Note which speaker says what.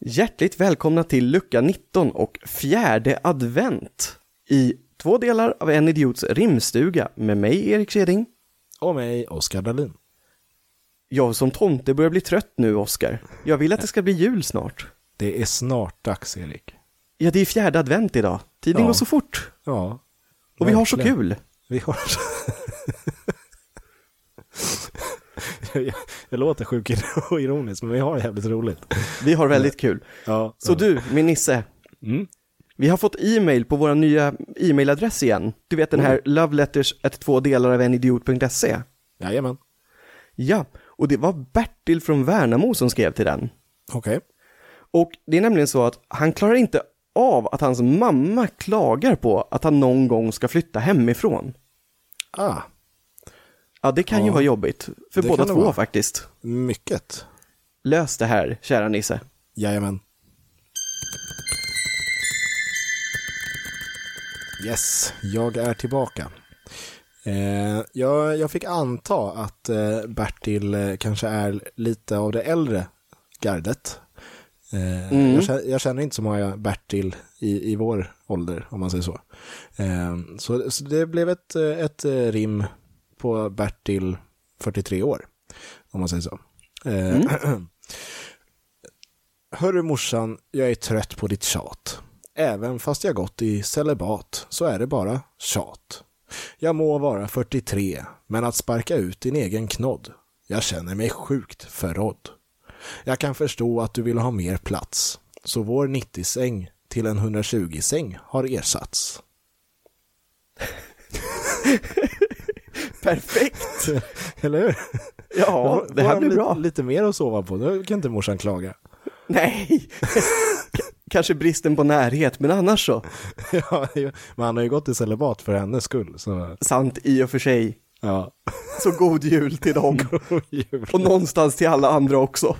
Speaker 1: Hjärtligt välkomna till lucka 19 och fjärde advent i två delar av En Idiots rimstuga med mig, Erik Keding.
Speaker 2: Och mig, Oskar Dahlin.
Speaker 1: Jag som tomte börjar bli trött nu, Oskar. Jag vill att det ska bli jul snart.
Speaker 2: Det är snart dags, Erik.
Speaker 1: Ja, det är fjärde advent idag. Tiden
Speaker 2: Ja.
Speaker 1: går så fort.
Speaker 2: Ja.
Speaker 1: Och vi har så
Speaker 2: verkligen.
Speaker 1: kul.
Speaker 2: Vi har... jag, jag, jag låter sjuk och ironisk, men vi har jävligt roligt.
Speaker 1: Vi har väldigt kul.
Speaker 2: Ja.
Speaker 1: Så du, min Nisse.
Speaker 2: Mm.
Speaker 1: Vi har fått e-mail på vår nya e-mailadress igen. Du vet den
Speaker 2: Mm.
Speaker 1: här loveletters ett två delar av enidiot.se.
Speaker 2: Jajamän.
Speaker 1: Ja, och det var Bertil från Värnamo som skrev till den.
Speaker 2: Okej.
Speaker 1: Och det är nämligen så att han klarar inte av att hans mamma klagar på att han någon gång ska flytta hemifrån.
Speaker 2: Ah,
Speaker 1: Ja, det kan ju
Speaker 2: Ja.
Speaker 1: vara jobbigt. För
Speaker 2: Det
Speaker 1: båda
Speaker 2: kan det
Speaker 1: två
Speaker 2: vara.
Speaker 1: faktiskt.
Speaker 2: mycket.
Speaker 1: Lös det här, kära Nisse.
Speaker 2: Jajamän. Yes, jag är tillbaka. Eh, jag, jag fick anta att eh, Bertil eh, kanske är lite av det äldre gardet. Eh, jag, kä- jag känner inte så många Bertil i, i vår ålder, om man säger så. Eh, så, så det blev ett, eh, ett eh, rim på Bertil 43 år, om man säger så. Eh, Hörru morsan, jag är trött på ditt tjat. Även fast jag gått i celibat så är det bara tjat. Jag må vara 43, men att sparka ut din egen knodd. Jag känner mig sjukt förrådd. Jag kan förstå att du vill ha mer plats, så vår 90-säng till en 120-säng har ersatts.
Speaker 1: Perfekt!
Speaker 2: Eller hur?
Speaker 1: Ja, det här
Speaker 2: Får
Speaker 1: blir
Speaker 2: han
Speaker 1: bra.
Speaker 2: Lite, lite mer att sova på, nu kan inte morsan klaga.
Speaker 1: Nej! K- Kanske bristen på närhet, men annars så.
Speaker 2: ja, men han har ju gått i celibat för hennes skull, så
Speaker 1: Sant i och för sig.
Speaker 2: ja.
Speaker 1: Så god jul till dem.
Speaker 2: God jul.
Speaker 1: Och någonstans till alla andra också.